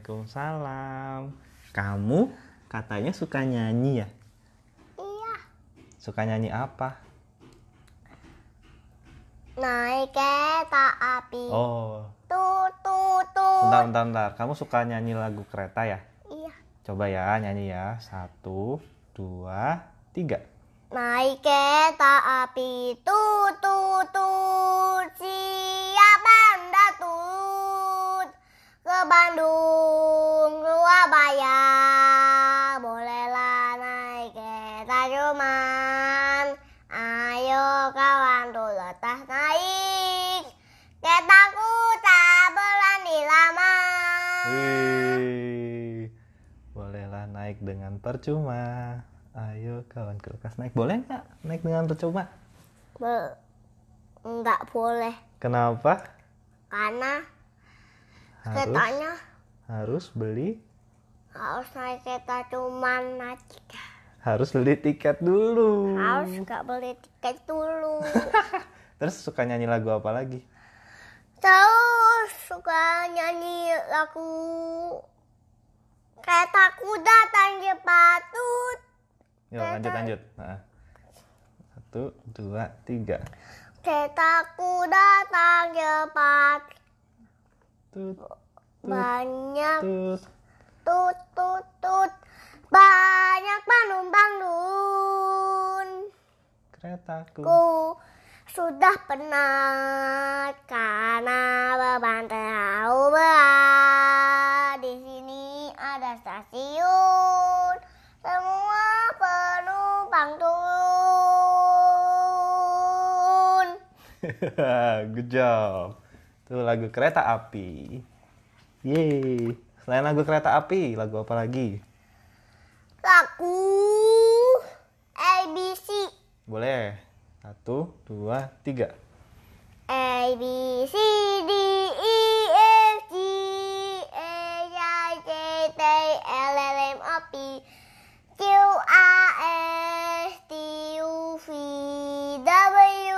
Waalaikumsalam. Kamu katanya suka nyanyi ya? Iya, Suka nyanyi apa? naik kereta api. Oh, Tut tut tut. bentar, bentar, bentar. Kamu suka nyanyi lagu kereta ya? Iya, Coba ya nyanyi ya. Satu, dua, tiga. naik kereta api. Tut tut tut. Siap Anda tut ke Bandung, Surabaya. Bolehlah naik kereta cuman ayo kawan tuh letas naik. Keretaku tak berani lama. Eh. Wih, bolehlah naik dengan percuma. Ayo kawan kulkas naik. Boleh nggak naik dengan percuma? Be- nggak boleh Kenapa? karena Harus, keretanya harus beli harus naik kereta cuman naik harus beli tiket dulu. harus nggak beli tiket dulu Terus suka nyanyi lagu apa lagi? terus suka nyanyi lagu kereta kuda tangki patut Yuk lanjut lanjut. Nah. Satu, dua, tiga. kereta kuda tangki patut Tut, banyak tut. tut tut tut banyak penumpang dun Keretaku. Ku sudah penat karena beban terlalu berat. Di sini ada stasiun, semua penumpang turun. Good job. Tuh lagu kereta api. Yeay. Selain lagu kereta api, lagu apa lagi? Lagu ABC, Boleh. Satu, dua, tiga. ABC, D, E, F, G, H, I, J, K, L, L, M, O, P, Q, R, S, T, U, V, W,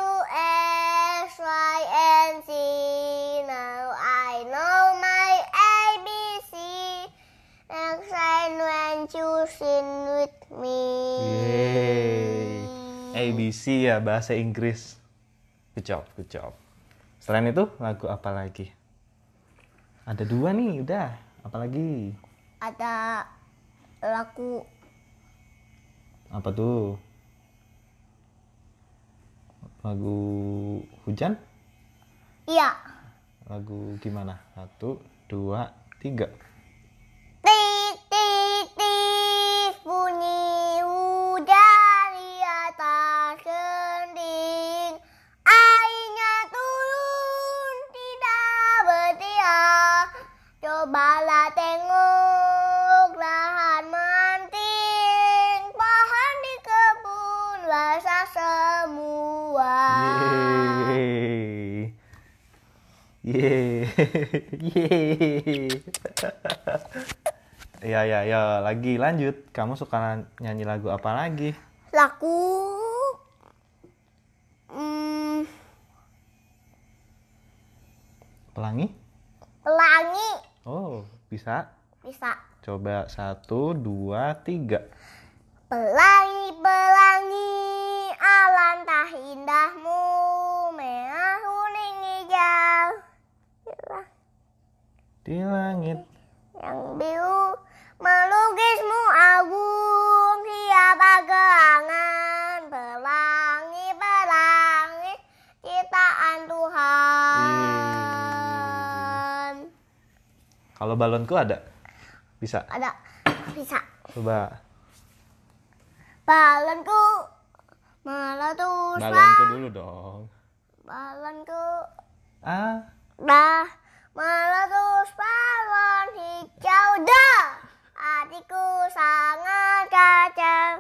X, Y, and Z. Now I know my ABC. Next time when you sing with me. Yeay. ABC ya, bahasa Inggris. Good job, good job. Selain itu, lagu apa lagi? Ada dua nih, udah. Apalagi? Ada lagu Apa tuh? Lagu hujan? iya. Lagu gimana? Satu, dua, tiga. Tik tik tik bunyi hujan di atas genting Airnya turun tidak bertiak Cobalah tengok lahan menting Pohon di kebun basah semua Iya. Yeay. Yeay. Yeay. Ya ya ya, lagi lanjut. Kamu suka nyanyi lagu apa lagi? laku hmm, Pelangi? pelangi Oh, bisa. bisa Coba satu, dua, tiga. Pelangi-pelangi alangkah indahmu Merah kuning hijau Di langit. Yang biru melukismu agung Siapa gerangan pelangi-pelangi Ciptaan Tuhan Kalau balonku ada? Bisa. Ada bisa Coba balonku meletus balonku dulu dong. balonku Ah, Dah meletus balon hijau dah Hatiku sangat kacau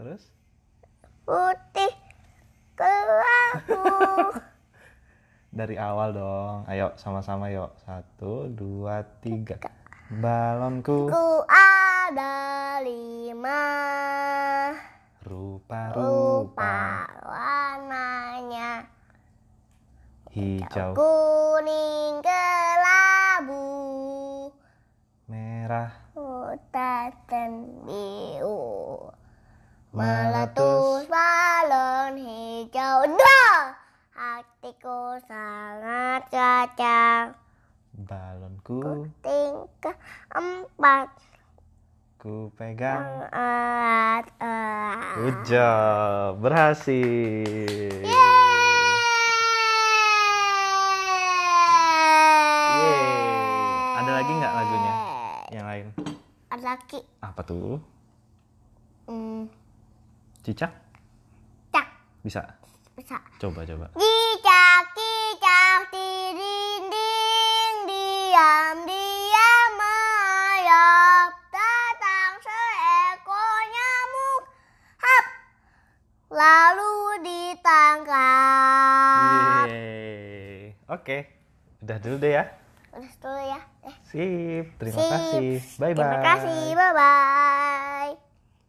terus? putih kelabu Dari awal dong. Ayo sama-sama yuk. Satu, dua, tiga. Balonku Ku ada lima rupa-rupa rupa warnanya hijau. Kuning kelabu merah hutan dan biru meletus meletus balon hijau Duh! hatiku sangat kacang balonku tingkah empat ku pegang erat erat good job berhasil Yeay. ada lagi nggak lagunya yang lain ada lagi apa tuh hmm, cicak cak bisa bisa coba coba Cicak, cicak, dinding, ding, diam, diam merayap. Datang seekor nyamuk, hap, lalu ditangkap. Yeay. oke udah dulu deh ya Udah dulu ya. Eh, sip terima sip. kasih bye bye Terima kasih, bye-bye.